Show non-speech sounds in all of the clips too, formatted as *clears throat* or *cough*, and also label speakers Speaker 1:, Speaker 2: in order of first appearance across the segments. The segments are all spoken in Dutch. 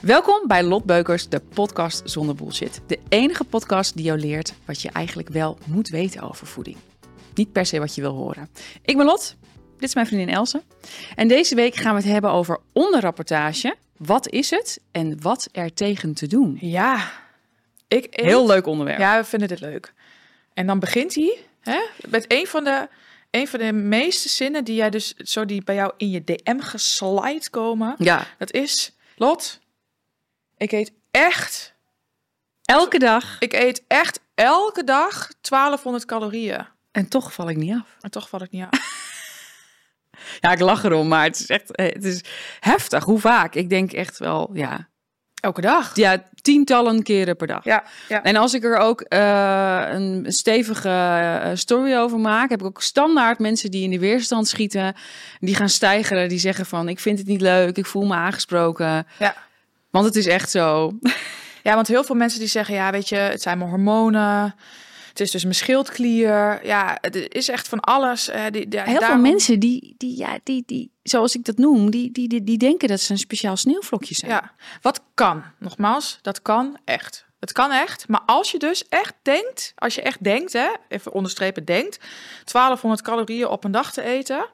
Speaker 1: Welkom bij Lot Beukers, de podcast zonder bullshit. De enige podcast die jou leert wat je eigenlijk wel moet weten over voeding. Niet per se wat je wil horen. Ik ben Lot, dit is mijn vriendin Else. En deze week gaan we het hebben over onderrapportage. Wat is het en wat er tegen te doen?
Speaker 2: Ja, ik eet-
Speaker 1: Heel leuk onderwerp.
Speaker 2: Ja, we vinden dit leuk. En dan begint hij hè, met een van, de, een van de meeste zinnen die jij dus zo die bij jou in je DM geslide komen.
Speaker 1: ja.
Speaker 2: Dat is, Lot, ik eet echt,
Speaker 1: Elke dag.
Speaker 2: ik eet echt elke dag 1200 calorieën.
Speaker 1: En toch val ik niet af.
Speaker 2: En toch val ik niet af.
Speaker 1: Ja, ik lach erom, maar het is echt eh, het is heftig. Hoe vaak? Ik denk echt wel, ja,
Speaker 2: Elke dag.
Speaker 1: ja tientallen keren per dag.
Speaker 2: Ja, ja.
Speaker 1: En als ik er ook eh, een stevige eh, story over maak, heb ik ook standaard mensen die in de weerstand schieten, die gaan stijgeren, die zeggen van ik vind het niet leuk, ik voel me aangesproken.
Speaker 2: Ja.
Speaker 1: Want het is echt zo.
Speaker 2: Ja, want heel veel mensen die zeggen, ja, weet je, het zijn mijn hormonen. Het is dus mijn schildklier. Ja, het is echt van alles. eh, die, die-
Speaker 1: Heel
Speaker 2: daarom-
Speaker 1: veel mensen die, die, ja, die, die, zoals ik dat noem, die, die, die, die denken dat ze een speciaal sneeuwvlokje zijn.
Speaker 2: Ja, wat kan? Nogmaals, dat kan echt. Het kan echt. Maar als je dus echt denkt, als je echt denkt, hè, even onderstrepen, denkt, 1200 calorieën op een dag te eten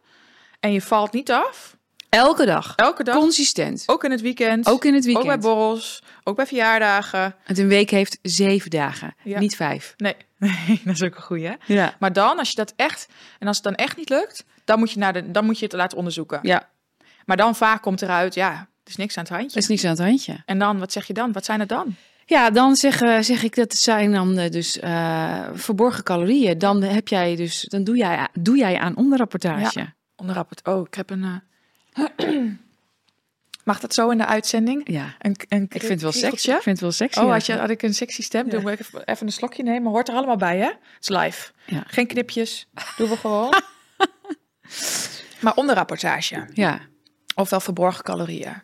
Speaker 2: en je valt niet af,
Speaker 1: Elke dag.
Speaker 2: elke dag,
Speaker 1: Consistent.
Speaker 2: ook in het weekend,
Speaker 1: Ook in het weekend.
Speaker 2: ook bij borrels, ook bij verjaardagen.
Speaker 1: Want een week heeft zeven dagen,
Speaker 2: Ja.
Speaker 1: niet vijf.
Speaker 2: Nee, *laughs* nee, dat is ook een goeie, hè?
Speaker 1: Ja.
Speaker 2: Maar dan, als je dat echt, en als het dan echt niet lukt, dan moet je, naar de, dan moet je het laten onderzoeken.
Speaker 1: Ja, Dus-
Speaker 2: Maar dan vaak komt eruit, ja, er is niks aan het
Speaker 1: er
Speaker 2: handje.
Speaker 1: is niks aan het handje.
Speaker 2: En dan, wat zeg je dan? Wat zijn het dan?
Speaker 1: Ja, dan zeg, eh, zeg ik dat het zijn dan eh, dus eh, verborgen calorieën. Dan heb jij dus, dan doe jij, doe jij aan onderrapportage. Ja.
Speaker 2: Onderrapport. Oh, ik heb een. eh, *clears throat* Mag dat zo in de uitzending? Een, een
Speaker 1: Ik vind het wel sexy.
Speaker 2: krikeltje?
Speaker 1: Ik vind het wel sexy.
Speaker 2: Oh, had, je,
Speaker 1: eigenlijk.
Speaker 2: had ik een sexy stem? Doe ik even, even een slokje nemen. Hoort er allemaal bij, hè? Het is live.
Speaker 1: Ja.
Speaker 2: Geen knipjes. Doen we gewoon. maar onderrapportage.
Speaker 1: ja.
Speaker 2: Ofwel verborgen calorieën.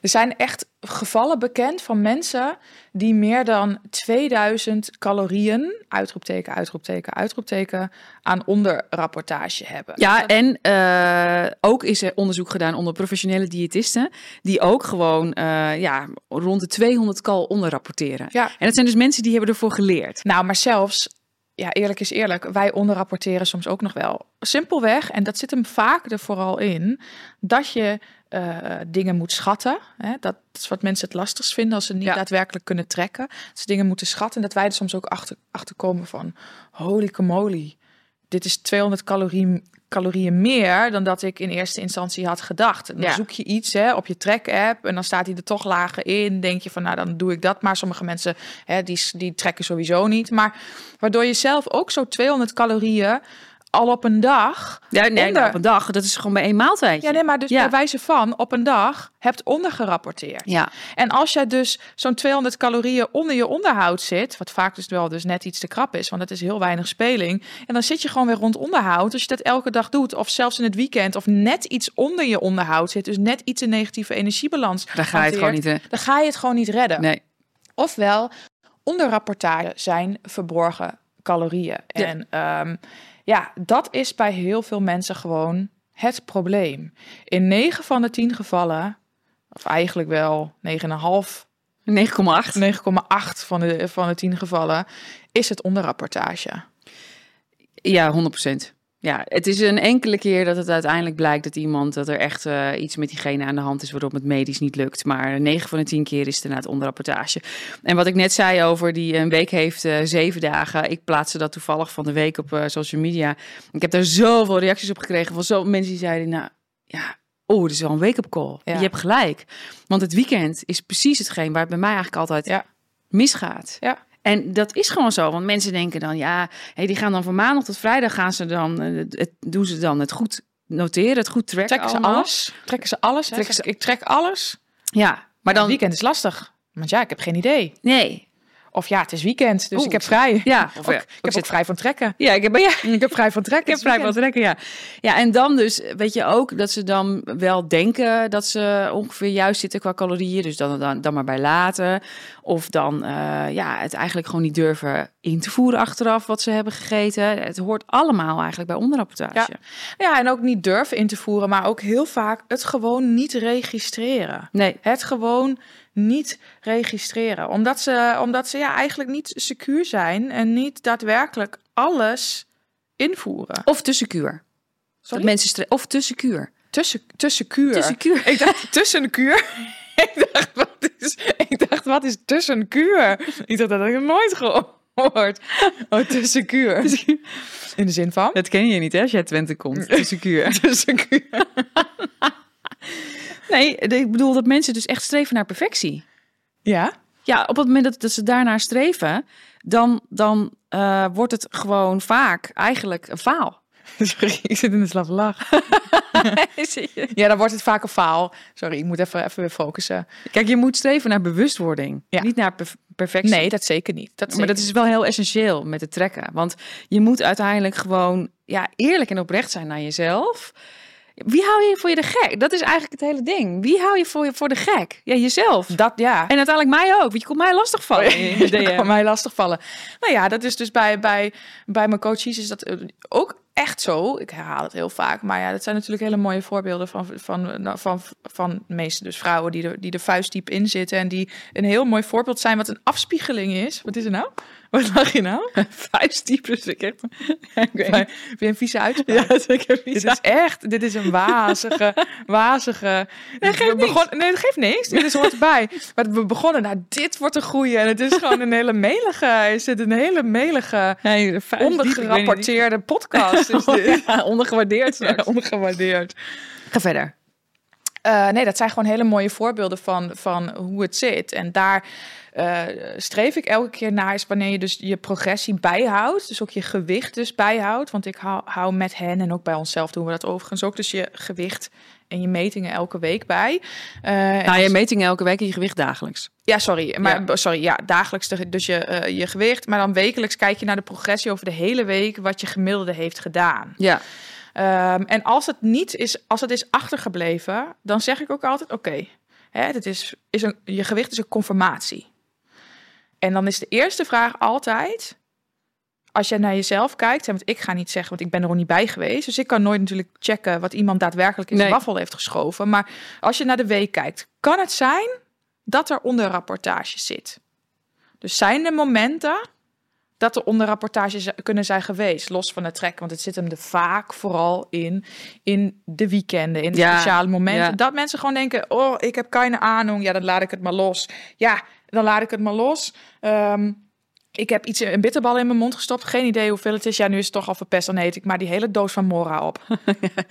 Speaker 2: Er zijn echt gevallen bekend van mensen die meer dan 2000 calorieën, uitroepteken, uitroepteken, uitroepteken, aan onderrapportage hebben.
Speaker 1: Ja, en eh, ook is er onderzoek gedaan onder professionele diëtisten. Die ook gewoon eh, ja, rond de 200 kal onderrapporteren.
Speaker 2: Ja.
Speaker 1: En dat zijn dus mensen die hebben ervoor geleerd.
Speaker 2: Nou, maar zelfs, ja, eerlijk is eerlijk, wij onderrapporteren soms ook nog wel. Simpelweg, en dat zit hem vaak er vooral in, dat je eh, dingen moet schatten. Hè? Dat is wat mensen het lastigst vinden als ze niet
Speaker 1: Ja.
Speaker 2: daadwerkelijk kunnen trekken. Dat ze dingen moeten schatten en dat wij er soms ook achter, achter komen van, holy kamoli, dit is 200 calorieën, calorieën meer dan dat ik in eerste instantie had gedacht. En Dan
Speaker 1: Ja.
Speaker 2: zoek je iets hè, op je track-app en dan staat hij er toch lager in. Denk je van, nou dan doe ik dat. Maar sommige mensen hè, die, die trekken sowieso niet. Maar waardoor je zelf ook zo 200 calorieën al op een dag...
Speaker 1: Ja, nee,
Speaker 2: onder-
Speaker 1: nou, op een dag. Dat is gewoon bij één maaltijdje.
Speaker 2: ja, nee, maar dus
Speaker 1: Ja.
Speaker 2: bij wijze van op een dag hebt ondergerapporteerd.
Speaker 1: ja.
Speaker 2: En als jij dus zo'n 200 calorieën onder je onderhoud zit, wat vaak dus wel dus net iets te krap is, want het is heel weinig speling, en dan zit je gewoon weer rond onderhoud. Als je dat elke dag doet, of zelfs in het weekend, of net iets onder je onderhoud zit, dus net iets een negatieve energiebalans,
Speaker 1: Dan ga je het gewoon niet... eh,
Speaker 2: dan ga je het gewoon niet redden.
Speaker 1: Nee.
Speaker 2: Ofwel, onderrapportage zijn verborgen calorieën.
Speaker 1: Ja.
Speaker 2: En ehm, ja, dat is bij heel veel mensen gewoon het probleem. In 9 van de 10 gevallen, of eigenlijk wel 9,5,
Speaker 1: 9,8.
Speaker 2: 9,8 van de, van de 10 gevallen, is het onderrapportage.
Speaker 1: Ja, 100%. Ja, het is een enkele keer dat het uiteindelijk blijkt dat iemand dat er echt eh, iets met diegene aan de hand is waarop het medisch niet lukt. Maar 9 van de 10 keer is het inderdaad onderrapportage. En wat ik net zei over die een week heeft eh, zeven dagen. Ik plaatste dat toevallig van de week op eh, social media. Ik heb daar zoveel reacties op gekregen van zoveel mensen die zeiden, nou ja, oh, dit is wel een wake-up call.
Speaker 2: Ja.
Speaker 1: Je hebt gelijk. Want het weekend is precies hetgeen waar het bij mij eigenlijk altijd
Speaker 2: Ja.
Speaker 1: misgaat.
Speaker 2: Ja.
Speaker 1: En dat is gewoon zo, want mensen denken dan, ja, hé, die gaan dan van maandag tot vrijdag gaan ze dan, eh, het, het- doen ze dan het goed noteren, het goed tracken,
Speaker 2: Trekken ze
Speaker 1: allemaal.
Speaker 2: alles? Trekken ze alles? hè?
Speaker 1: Trekken ze-
Speaker 2: Ik trek alles.
Speaker 1: Ja, maar
Speaker 2: Maar dan...
Speaker 1: dan,
Speaker 2: weekend is lastig. Want ja, ik heb geen idee.
Speaker 1: nee,
Speaker 2: Of ja, het is weekend, dus
Speaker 1: Oeh.
Speaker 2: ik heb vrij.
Speaker 1: ja, of,
Speaker 2: *laughs* Ook-
Speaker 1: ja,
Speaker 2: ik
Speaker 1: ik
Speaker 2: heb
Speaker 1: zit-
Speaker 2: ook vrij van trekken.
Speaker 1: ja, *laughs* ik heb, ja,
Speaker 2: Ik heb vrij van
Speaker 1: ik
Speaker 2: trekken.
Speaker 1: heb vrij wat trekken, ja. Ja, en dan dus, weet je ook, dat ze dan wel denken dat ze ongeveer juist zitten qua calorieën, dus dan, dan, dan maar bij laten. Of dan, eh, ja, het eigenlijk gewoon niet durven in te voeren achteraf wat ze hebben gegeten. Het hoort allemaal eigenlijk bij onderrapportage.
Speaker 2: Ja. Ja, en ook niet durven in te voeren, maar ook heel vaak het gewoon niet registreren.
Speaker 1: Nee.
Speaker 2: Het gewoon niet registreren. Omdat ze, omdat ze ja, eigenlijk niet secuur zijn en niet daadwerkelijk alles invoeren.
Speaker 1: Of te secuur. Dat
Speaker 2: Sorry?
Speaker 1: mensen stre- of te secuur.
Speaker 2: Tussen, tussen kuur.
Speaker 1: Te
Speaker 2: *laughs*
Speaker 1: secuur.
Speaker 2: Ik dacht tussenkuur. *laughs* ik, dacht, wat is, ik dacht, wat is tussenkuur? Ik dacht, dat had ik nog nooit gehoord. Oh, tussenkuur. In de zin van?
Speaker 1: Dat ken je niet hè, als jij Twente komt. Te
Speaker 2: *laughs*
Speaker 1: secuur.
Speaker 2: Tussenkuur.
Speaker 1: Nee, de- ik bedoel dat mensen dus echt streven naar perfectie.
Speaker 2: Ja?
Speaker 1: Ja, op het moment dat, dat ze daarnaar streven, dan, dan eh, wordt het gewoon vaak eigenlijk een *laughs* faal.
Speaker 2: Sorry, ik zit in de slappe lach. Ja, dan wordt het vaak een faal. Sorry, ik moet even, even weer focussen.
Speaker 1: Kijk, je moet streven naar bewustwording,
Speaker 2: Ja.
Speaker 1: niet naar perf- perfectie.
Speaker 2: Nee, dat zeker niet. Dat
Speaker 1: Maar
Speaker 2: zeker
Speaker 1: dat is wel heel essentieel met het trekken. Want je moet uiteindelijk gewoon ja, eerlijk en oprecht zijn naar jezelf. Wie hou je voor je de gek? Dat is eigenlijk het hele ding. Wie hou je voor, je voor de gek? Ja, jezelf.
Speaker 2: niet. dat ja.
Speaker 1: En uiteindelijk mij ook, want je komt mij lastig
Speaker 2: Oh
Speaker 1: vallen in de
Speaker 2: *laughs* Dat kan
Speaker 1: DM.
Speaker 2: mij lastigvallen. Nou ja, dat is dus bij, bij, bij mijn coaches is dat eh, ook echt zo. Ik herhaal het heel vaak. Maar ja, dat zijn natuurlijk hele mooie voorbeelden van, van, nou, van, van meeste dus vrouwen die er, die er vuistdiep in zitten. En die een heel mooi voorbeeld zijn wat een afspiegeling is. Wat is er nou? Wat lag je nou?
Speaker 1: Vuistdiep dus ik heb...
Speaker 2: Bij, weer een vieze uitspraak.
Speaker 1: zeker
Speaker 2: Dit is echt, dit is een *laughs* wazige, wazige. Nee, we begon, nee, dat geeft niks. Dit is hoort bij. Maar we begonnen, nou, dit wordt een goeie. En het is gewoon een hele melige, is dit een hele melige, ondergerapporteerde podcast. *laughs* Is dit.
Speaker 1: ondergewaardeerd.
Speaker 2: Ja, ongewaardeerd.
Speaker 1: Ga verder.
Speaker 2: Eh, nee, dat zijn gewoon hele mooie voorbeelden van, van hoe het zit. En daar eh, streef ik elke keer naar, is wanneer je dus je progressie bijhoudt. Dus ook je gewicht dus bijhoudt. Want ik hou, hou met hen en ook bij onszelf doen we dat overigens ook. Dus je gewicht en je metingen elke week bij. Eh, en
Speaker 1: Nou, je metingen elke week en je gewicht dagelijks.
Speaker 2: ja, sorry. Maar sorry, ja, dagelijks de- dus je, eh, je gewicht. Maar dan wekelijks kijk je naar de progressie over de hele week, wat je gemiddelde heeft gedaan.
Speaker 1: Ja.
Speaker 2: Ehm, en als het niet is, als het is achtergebleven, dan zeg ik ook altijd: oké, hè, dit is, is een, je gewicht is een conformatie. En dan is de eerste vraag altijd: als jij naar jezelf kijkt, hè, want ik ga niet zeggen, want ik ben er nog niet bij geweest, dus ik kan nooit natuurlijk checken wat iemand daadwerkelijk in zijn
Speaker 1: Nee.
Speaker 2: waffel heeft geschoven. Maar als je naar de week kijkt, kan het zijn dat er onderrapportage zit. Dus zijn er momenten dat er onderrapportages kunnen zijn geweest, los van het trekken. Want het zit hem er vaak vooral in, in de weekenden, in de
Speaker 1: Ja,
Speaker 2: speciale momenten.
Speaker 1: ja.
Speaker 2: Dat mensen gewoon denken, oh, ik heb keine aanhang, ja, dan laat ik het maar los. Ja, dan laat ik het maar los. Ehm, ik heb iets, een bitterbal in mijn mond gestopt, geen idee hoeveel het is. Ja, nu is het toch al verpest, dan eet ik maar die hele doos van
Speaker 1: *laughs*
Speaker 2: Mora op.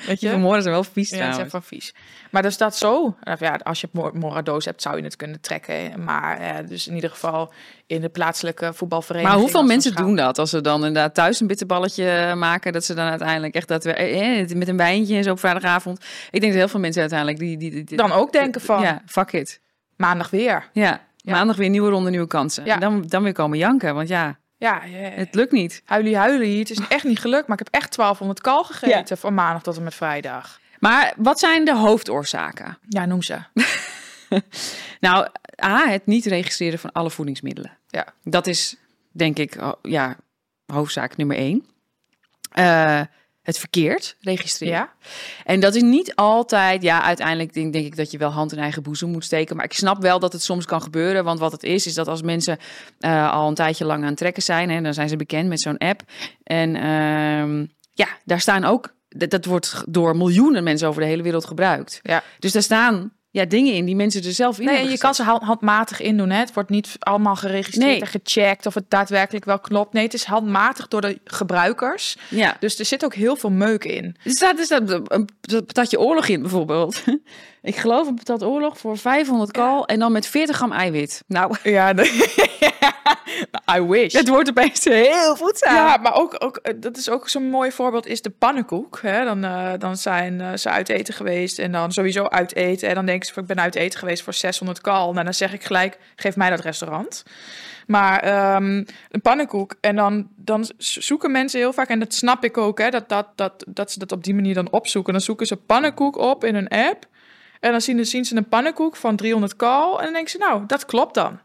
Speaker 2: Weet je?
Speaker 1: Vanmorgen zijn wel vies
Speaker 2: Ja, het zijn
Speaker 1: trouwens.
Speaker 2: van vies. Maar dus dat zo, of ja, als je Mor- Moradoos hebt, zou je het kunnen trekken. Maar eh, dus in ieder geval in de plaatselijke voetbalvereniging.
Speaker 1: Maar hoeveel
Speaker 2: als een
Speaker 1: mensen
Speaker 2: schaal.
Speaker 1: doen dat? Als ze dan inderdaad thuis een bitterballetje maken, dat ze dan uiteindelijk echt dat we eh, met een wijntje en zo op vrijdagavond. Ik denk dat heel veel mensen uiteindelijk die, die, die- die-
Speaker 2: Dan ook denken van,
Speaker 1: ja, fuck it.
Speaker 2: maandag weer.
Speaker 1: Ja.
Speaker 2: Ja.
Speaker 1: Maandag weer nieuwe ronde, nieuwe kansen.
Speaker 2: Ja.
Speaker 1: Dan, dan weer komen janken, want ja,
Speaker 2: Ja, eh,
Speaker 1: het lukt niet.
Speaker 2: huilie huilie, het is echt niet gelukt. Maar ik heb echt 1200 kal gegeten van maandag tot en met vrijdag.
Speaker 1: Maar wat zijn de hoofdoorzaken?
Speaker 2: Ja, noem ze.
Speaker 1: Nou, A, het niet registreren van alle voedingsmiddelen.
Speaker 2: Ja.
Speaker 1: Dat is, denk ik, ho- ja, hoofdzaak nummer één. Eh, het verkeerd registreren.
Speaker 2: Ja?
Speaker 1: En dat is niet altijd, ja, uiteindelijk denk, denk ik dat je wel hand in eigen boezem moet steken. Maar ik snap wel dat het soms kan gebeuren. Want wat het is, is dat als mensen eh, al een tijdje lang aan het trekken zijn, hè, dan zijn ze bekend met zo'n app. En ehm, ja, daar staan ook, dat, dat wordt door miljoenen mensen over de hele wereld gebruikt.
Speaker 2: Ja.
Speaker 1: Dus daar staan ja, dingen in die mensen er zelf in
Speaker 2: Nee, en
Speaker 1: hebben
Speaker 2: je
Speaker 1: gezet.
Speaker 2: kan ze hand- handmatig indoen. Hè? Het wordt niet allemaal geregistreerd
Speaker 1: Nee.
Speaker 2: en gecheckt of het daadwerkelijk wel klopt. Nee, het is handmatig door de gebruikers.
Speaker 1: Ja.
Speaker 2: Dus er zit ook heel veel meuk in.
Speaker 1: Er staat, er staat een patatje oorlog in bijvoorbeeld. *laughs* Ik geloof een patat oorlog voor 500 kal en dan met 40 gram eiwit. Nou,
Speaker 2: Ja, *laughs* I wish.
Speaker 1: het wordt opeens heel voedzaam.
Speaker 2: Ja, maar ook, ook, eh, dat is ook zo'n mooi voorbeeld, is de pannenkoek. Hè? Dan, eh, dan zijn eh, ze uit eten geweest en dan sowieso uit eten. En dan denken ze, van, ik ben uit eten geweest voor 600 kal. Nou, dan zeg ik gelijk, geef mij dat restaurant. Maar ehm, een pannenkoek. En dan, dan zo- zoeken mensen heel vaak, en dat snap ik ook, hè, dat, dat, dat, dat ze dat op die manier dan opzoeken. Dan zoeken ze pannenkoek op in een app. En dan zien, zien ze een pannenkoek van 300 kal. En dan denken ze, nou, dat klopt dan.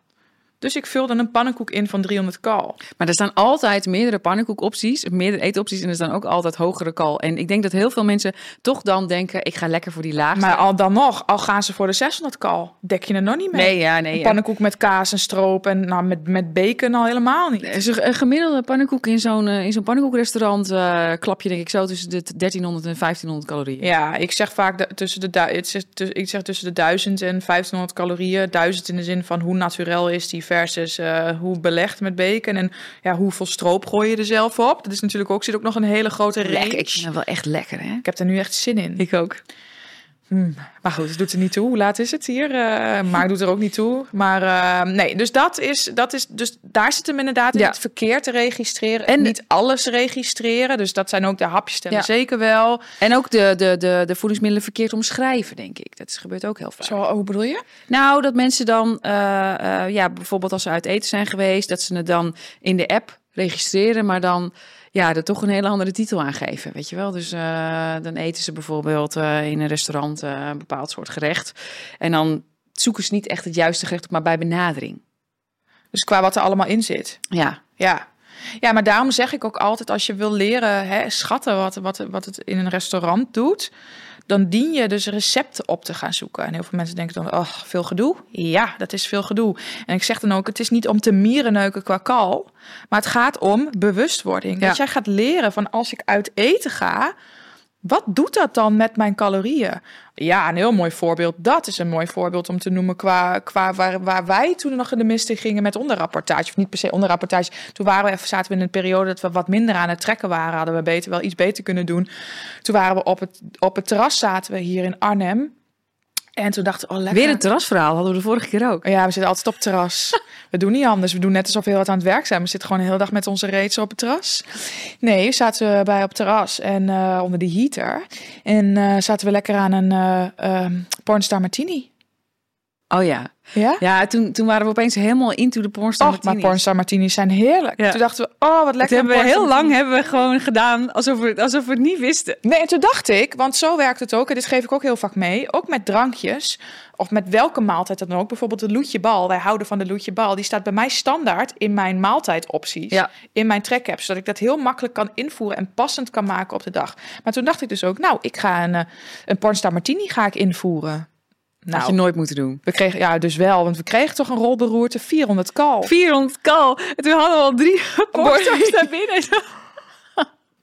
Speaker 2: Dus ik vulde een pannenkoek in van 300 kal.
Speaker 1: Maar er staan altijd meerdere pannenkoekopties, meerdere eetopties en er staan ook altijd hogere kal. En ik denk dat heel veel mensen toch dan denken, ik ga lekker voor die laagste.
Speaker 2: Maar al dan nog, al gaan ze voor de 600 kal, dek je er nog niet mee.
Speaker 1: nee, ja, nee.
Speaker 2: Een
Speaker 1: ja.
Speaker 2: pannenkoek met kaas en stroop en nou, met, met bacon al helemaal niet.
Speaker 1: Dus Een een gemiddelde pannenkoek in zo'n eh, in zo'n pannenkoekrestaurant eh, klap je denk ik zo tussen de 1300 en 1500 calorieën.
Speaker 2: Ja, ik zeg vaak de- tussen de, du- het is tu- ik zeg tussen de 1000 en 1500 calorieën. 1000 in de zin van hoe naturel is die versus eh, hoe belegd met bacon. En ja, hoeveel stroop gooi je er zelf op. Dat is natuurlijk ook, zit ook nog een hele grote range.
Speaker 1: Lekker, ik vind het wel echt lekker hè.
Speaker 2: Ik heb er nu echt zin in.
Speaker 1: Ik ook.
Speaker 2: Maar goed, het doet er niet toe. Hoe laat is het hier? Eh, maar het doet er ook niet toe. Maar eh, nee, dus dat is, dat is. Dus daar zit hem inderdaad in
Speaker 1: Ja.
Speaker 2: het verkeer te registreren. En
Speaker 1: En-
Speaker 2: niet alles registreren. Dus dat zijn ook de hapjes tellen
Speaker 1: Ja.
Speaker 2: zeker wel.
Speaker 1: En ook de, de, de, de voedingsmiddelen verkeerd omschrijven, denk ik. Dat is- gebeurt ook heel vaak.
Speaker 2: Zo, oh, hoe bedoel je?
Speaker 1: Nou, dat mensen dan, eh, eh, ja, bijvoorbeeld als ze uit eten zijn geweest, dat ze het dan in de app registreren, maar dan ja, er toch een hele andere titel aan geven, weet je wel. Dus eh, dan eten ze bijvoorbeeld eh, in een restaurant eh, een bepaald soort gerecht en dan zoeken ze niet echt het juiste gerecht op, maar bij benadering.
Speaker 2: Dus qua wat er allemaal in zit.
Speaker 1: Ja,
Speaker 2: Ja. Ja, maar daarom zeg ik ook altijd, als je wil leren hè, schatten wat, wat, wat het in een restaurant doet, dan dien je dus recepten op te gaan zoeken. En heel veel mensen denken dan, oh, veel gedoe. Ja, dat is veel gedoe. En ik zeg dan ook, het is niet om te mierenneuken qua kal, maar het gaat om bewustwording.
Speaker 1: Ja.
Speaker 2: Dat jij gaat leren van als ik uit eten ga, wat doet dat dan met mijn calorieën? Ja, een heel mooi voorbeeld. Dat is een mooi voorbeeld om te noemen qua, qua waar, waar wij toen nog in de mist in gingen met onderrapportage. Of niet per se onderrapportage. Toen waren we, even- zaten we in een periode dat we wat minder aan het trekken waren. Hadden we beter, wel iets beter kunnen doen. Toen waren we op het, op het terras, zaten we hier in Arnhem. En toen dachten we, oh lekker.
Speaker 1: weer een terrasverhaal hadden we de vorige keer ook.
Speaker 2: Ja, we zitten altijd op het
Speaker 1: *laughs*
Speaker 2: terras. We doen niet anders. We doen net alsof we heel wat aan het werk zijn. We zitten gewoon de hele dag met onze reeds op het terras. Nee, zaten we bij op het terras en eh, onder de heater. En eh, zaten we lekker aan een eh, ehm, pornstar martini.
Speaker 1: Oh ja,
Speaker 2: Ja?
Speaker 1: ja toen, toen waren we opeens helemaal into de pornstar
Speaker 2: Och, maar
Speaker 1: martinis.
Speaker 2: pornstar martinis zijn heerlijk.
Speaker 1: Ja.
Speaker 2: Toen dachten we, oh wat
Speaker 1: Dat
Speaker 2: lekker.
Speaker 1: hebben
Speaker 2: een
Speaker 1: we heel
Speaker 2: pornstar
Speaker 1: lang hebben we gewoon gedaan alsof we, alsof we het niet wisten.
Speaker 2: Nee, en toen dacht ik, want zo werkt het ook, en dit geef ik ook heel vaak mee, ook met drankjes, of met welke maaltijd dan ook, bijvoorbeeld de loetjebal, wij houden van de loetjebal, die staat bij mij standaard in mijn maaltijdopties,
Speaker 1: Ja.
Speaker 2: in mijn track-app, zodat ik dat heel makkelijk kan invoeren en passend kan maken op de dag. Maar toen dacht ik dus ook, nou, ik ga een, eh, een pornstar martini ga ik invoeren.
Speaker 1: Dat had
Speaker 2: Nou,
Speaker 1: je nooit moeten doen.
Speaker 2: we kregen, ja, dus wel, want we kregen toch een rolberoerte 400 kal.
Speaker 1: 400 kal. En toen hadden we al drie porters daar binnen.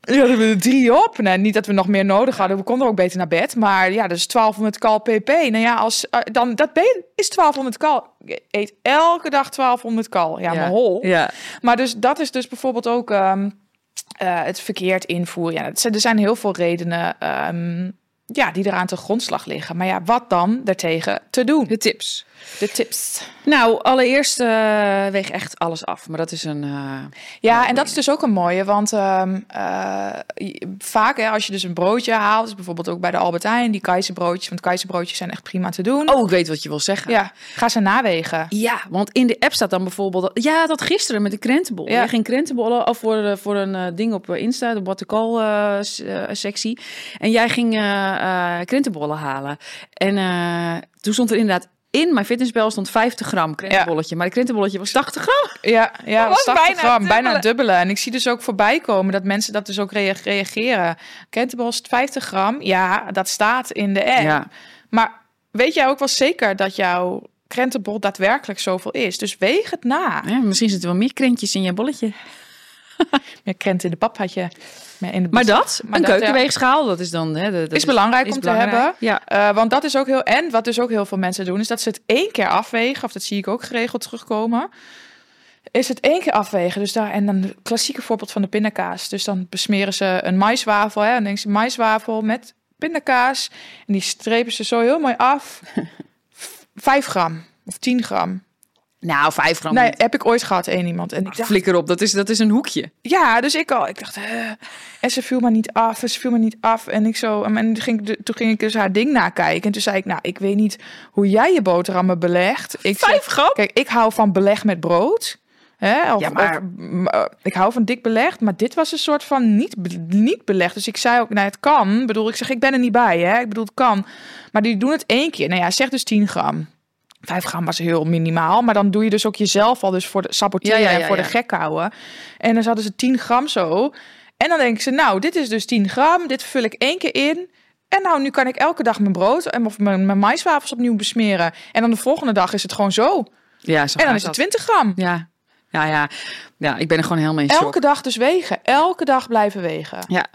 Speaker 2: Ja, we hebben er drie op. Nee, niet dat we nog meer nodig hadden. We konden ook beter naar bed. Maar ja, dat is 1200 kal pp. Nou ja, als, eh, dan, dat ben- is 1200 kal. Je eet elke dag 1200 kal. Ja, maar hol.
Speaker 1: Ja.
Speaker 2: Maar dus, dat is dus bijvoorbeeld ook ehm, eh, het verkeerd invoeren. Ja, het zijn- er zijn heel veel redenen ehm, ja, die eraan te grondslag liggen. Maar ja, wat dan daartegen te doen?
Speaker 1: De tips.
Speaker 2: De tips.
Speaker 1: Nou, allereerst eh, weeg echt alles af. Maar dat is een... eh,
Speaker 2: Ja, en dat is dus ook een mooie, want ehm, eh, je- vaak hè, als je dus een broodje haalt, dus bijvoorbeeld ook bij de Albert Heijn, die keizerbroodjes, want keizerbroodjes zijn echt prima te doen.
Speaker 1: Oh, ik weet wat je wil zeggen.
Speaker 2: Ja, ga ze nawegen.
Speaker 1: Ja, want in de app staat dan bijvoorbeeld... dat- Ja, dat gisteren met de krentenbol.
Speaker 2: Ja.
Speaker 1: Ja. Je ging krentenbollen af voor, eh, voor een eh, ding op eh, Insta, de what to call eh, s- eh, sectie. En jij ging eh, eh, krentenbollen halen. En eh, toen stond er inderdaad... In mijn fitnessbel stond 50 gram krentenbolletje. Maar het krentenbolletje was 80 gram.
Speaker 2: Ja, ja
Speaker 1: Dat was
Speaker 2: 80
Speaker 1: bijna het
Speaker 2: gram, bijna het
Speaker 1: dubbele.
Speaker 2: dubbele. En ik zie dus ook voorbij komen dat mensen dat dus ook rea- reageren. Kentebos 50 gram, ja, dat staat in de app. Maar weet jij ook wel zeker dat jouw krentenbol daadwerkelijk zoveel is? Dus weeg het na.
Speaker 1: Ja, misschien zitten wel meer krentjes in je bolletje.
Speaker 2: Meer krent in de pap had je. Maar, in de
Speaker 1: Maar dat,
Speaker 2: Maar
Speaker 1: Dus een
Speaker 2: dat, ja.
Speaker 1: keukenweegschaal, dat is dan... Hè, de- dat
Speaker 2: is, belangrijk
Speaker 1: is
Speaker 2: om
Speaker 1: belangrijk.
Speaker 2: te hebben.
Speaker 1: Ja.
Speaker 2: Eh, want dat is ook heel. En wat dus ook heel veel mensen doen, is dat ze het één keer afwegen. Of dat zie ik ook geregeld terugkomen. Is het één keer afwegen. Dus daar, en dan het klassieke voorbeeld van de pindakaas. Dus dan besmeren ze een maiswafel. Hè, en dan denken ze maiswafel met pindakaas. En die strepen ze zo heel mooi af. Vijf gram of 10 gram.
Speaker 1: Nou, vijf gram.
Speaker 2: Nee,
Speaker 1: niet.
Speaker 2: heb ik ooit gehad, één iemand. En ik dacht,
Speaker 1: Flikker op, dat is, dat is een hoekje.
Speaker 2: ja, dus ik al. Ik dacht, eh, en ze viel maar niet af, en ze viel maar niet af. En ik zo, en toen ging, ik de- toen ging ik dus haar ding nakijken. En toen zei ik, nou, ik weet niet hoe jij je boterhammen belegt. Ik zeg,
Speaker 1: Vijf gram?
Speaker 2: kijk, ik hou van beleg met brood. Hè, of,
Speaker 1: Ja, maar-
Speaker 2: of, m, eh, ik hou van dik belegd, maar dit was een soort van niet, be- niet belegd. Dus ik zei ook, nou, het kan. Ik bedoel, ik zeg, ik ben er niet bij, hè. Ik bedoel, het kan. Maar die doen het één keer. Nou ja, zeg dus 10 gram. Vijf gram was heel minimaal, maar dan doe je dus ook jezelf al dus voor de saboteren
Speaker 1: Ja, ja, ja,
Speaker 2: en voor
Speaker 1: ja.
Speaker 2: de gek houden. En dan hadden ze 10 gram zo. En dan denken ze, nou, dit is dus 10 gram, dit vul ik één keer in. En nou, nu kan ik elke dag mijn brood en of mijn, mijn maiswafels opnieuw besmeren. En dan de volgende dag is het gewoon zo.
Speaker 1: Ja, zo
Speaker 2: En dan
Speaker 1: gaat
Speaker 2: is het
Speaker 1: dat.
Speaker 2: 20 gram.
Speaker 1: Ja. Ja, ja. ja, ik ben er gewoon helemaal in shock.
Speaker 2: Elke dag dus wegen. Elke dag blijven wegen.
Speaker 1: Ja,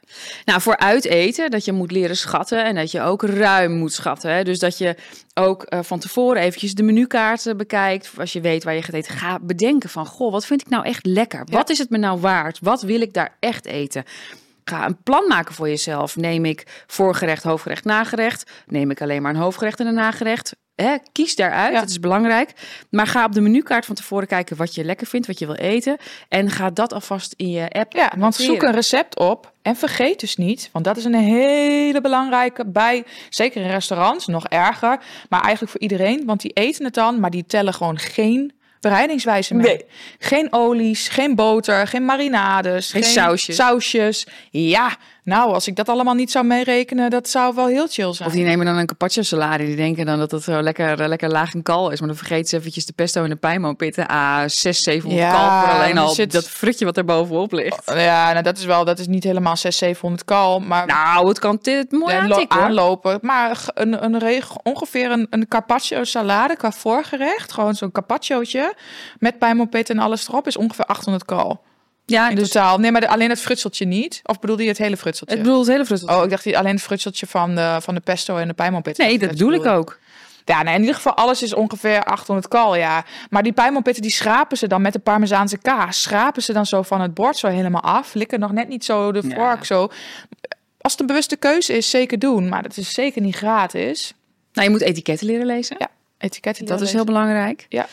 Speaker 1: nou voor uiteten, dat je moet leren schatten en dat je ook ruim moet schatten. Hè? Dus dat je ook eh, van tevoren eventjes de menukaarten bekijkt. Of Als je weet waar je gaat eten, ga bedenken van, goh, wat vind ik nou echt lekker?
Speaker 2: Ja.
Speaker 1: Wat is het me nou waard? Wat wil ik daar echt eten? Ga een plan maken voor jezelf. Neem ik voorgerecht, hoofdgerecht, nagerecht? Neem ik alleen maar een hoofdgerecht en een nagerecht? Hè, kies daaruit,
Speaker 2: Ja.
Speaker 1: dat is belangrijk. Maar ga op de menukaart van tevoren kijken wat je lekker vindt, wat je wil eten. En ga dat alvast in je app
Speaker 2: Ja, want zoek
Speaker 1: noteren.
Speaker 2: een recept op en vergeet dus niet, want dat is een hele belangrijke bij, zeker in restaurants, nog erger, maar eigenlijk voor iedereen, want die eten het dan, maar die tellen gewoon geen bereidingswijze mee.
Speaker 1: Nee.
Speaker 2: Geen olies, geen boter, geen marinades,
Speaker 1: Geen sausjes.
Speaker 2: sausjes. Ja, nou, als ik dat allemaal niet zou meerekenen, dat zou wel heel chill zijn.
Speaker 1: Of die nemen dan een carpaccio salade. Die denken dan dat het zo lekker, eh, lekker laag en kal is. Maar dan vergeten ze eventjes de pesto en de pijnmo pitten. Ah, 6, 700
Speaker 2: Ja, dus
Speaker 1: kal voor alleen
Speaker 2: er
Speaker 1: al
Speaker 2: zit-
Speaker 1: dat frutje wat er bovenop ligt.
Speaker 2: Ja, nou, dat is wel, dat is niet helemaal 600, 700 kal, maar...
Speaker 1: Nou, het kan dit mooi
Speaker 2: en lo-
Speaker 1: aantikken hoor.
Speaker 2: aanlopen. Maar g- een, een reg- ongeveer een, een carpaccio salade qua voorgerecht. Gewoon zo'n carpacciootje met pijnmopet en alles erop is ongeveer 800 kal.
Speaker 1: Ja,
Speaker 2: In
Speaker 1: dus
Speaker 2: totaal. Nee, maar de- alleen het frutseltje niet. Of bedoelde je het hele frutseltje?
Speaker 1: het bedoelt het hele frutje.
Speaker 2: Oh, ik dacht die- alleen het frutseltje van de, van de pesto en de pijnmopet.
Speaker 1: nee, dat bedoel ik ook.
Speaker 2: Ja, nee, in ieder geval alles is ongeveer 800 kal, ja. Maar die pijnmopitten, die schrapen ze dan met de parmezaanse kaas. Schrapen ze dan zo van het bord zo helemaal af. Likken nog net niet zo de
Speaker 1: Ja.
Speaker 2: vork zo. Als het een bewuste keuze is, zeker doen. Maar dat is zeker niet gratis.
Speaker 1: Nou, je moet etiketten leren lezen.
Speaker 2: Ja, etiketten.
Speaker 1: dat is
Speaker 2: leren
Speaker 1: heel belangrijk.
Speaker 2: Ja.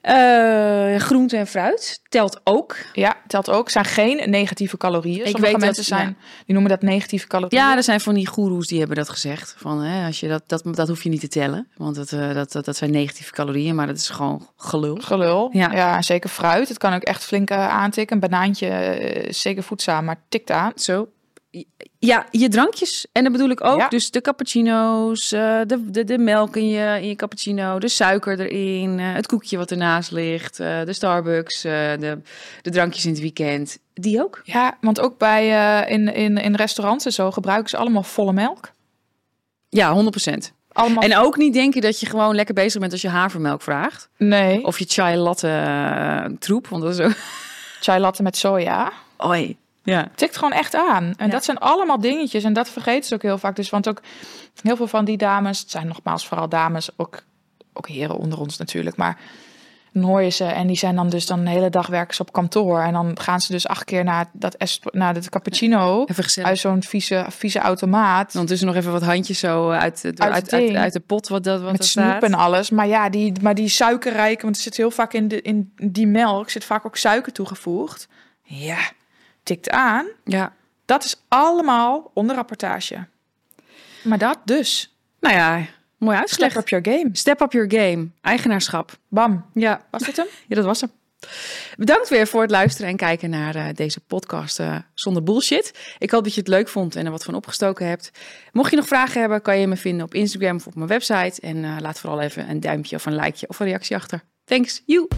Speaker 1: Eh, groente en fruit telt ook.
Speaker 2: lezen. Ja, telt ook. Zijn geen negatieve calorieën. Sommige
Speaker 1: weet dat-
Speaker 2: mensen zijn, die noemen dat negatieve calorieën.
Speaker 1: Ja, er zijn van die goeroes die hebben dat gezegd. Van, hè, als je dat, dat, dat hoef je niet te tellen. Want dat, eh, dat, dat, dat zijn negatieve calorieën. Maar dat is gewoon gelul.
Speaker 2: Gelul.
Speaker 1: Ja.
Speaker 2: Ja. en zeker fruit. Het kan ook echt flink eh, aantikken. Een banaantje eh, is zeker voedzaam, maar tikt aan.
Speaker 1: Zo. Ja, je drankjes. En dat bedoel ik ook.
Speaker 2: Ja.
Speaker 1: Dus de cappuccino's, eh, de, de, de melk in je, in je cappuccino, de suiker erin, eh, het koekje wat ernaast ligt, eh, de Starbucks, eh, de, de drankjes in het weekend. Die ook?
Speaker 2: Ja, want ook bij, eh, in, in, in restaurants en zo gebruiken ze allemaal volle melk.
Speaker 1: Ja, 100%.
Speaker 2: Allemaal.
Speaker 1: En ook niet denken dat je gewoon lekker bezig bent als je havermelk vraagt.
Speaker 2: nee. Of
Speaker 1: Of je chai latte eh, troep, want dat is ook...
Speaker 2: chai latte met soja.
Speaker 1: Oi. Ja.
Speaker 2: Tikt gewoon echt aan. En
Speaker 1: Ja.
Speaker 2: dat zijn allemaal dingetjes. En dat vergeten ze ook heel vaak. Dus want ook heel veel van die dames, het zijn nogmaals vooral dames, ook, ook heren onder ons natuurlijk. Maar dan hoor je ze en die zijn dan dus dan de hele dag werken ze op kantoor. En dan gaan ze dus acht keer naar dat, es- naar dat cappuccino
Speaker 1: Even gezellig.
Speaker 2: uit zo'n vieze, vieze automaat.
Speaker 1: Ondertussen nog even wat handjes zo uit, uit,
Speaker 2: het
Speaker 1: uit, uit,
Speaker 2: ding.
Speaker 1: uit de pot wat, dat, wat
Speaker 2: met
Speaker 1: er
Speaker 2: snoep
Speaker 1: staat.
Speaker 2: en alles. Maar ja, die, maar die suikerrijke, want er zit heel vaak in, de, in die melk, zit vaak ook suiker toegevoegd. Ja, tikt aan.
Speaker 1: Ja.
Speaker 2: Dat is allemaal onderrapportage. Maar dat dus.
Speaker 1: Nou ja, mooi
Speaker 2: Step
Speaker 1: uitgelegd.
Speaker 2: op your game.
Speaker 1: Step up your game. Eigenaarschap.
Speaker 2: Bam.
Speaker 1: Ja,
Speaker 2: Was dit hem?
Speaker 1: ja dat was hem. Bedankt weer voor het luisteren en kijken naar eh, deze podcast eh, zonder bullshit. Ik hoop dat je het leuk vond en er wat van opgestoken hebt. Mocht je nog vragen hebben, kan je me vinden op Instagram of op mijn website. En eh, laat vooral even een duimpje of een likeje of een reactie achter. Thanks, you!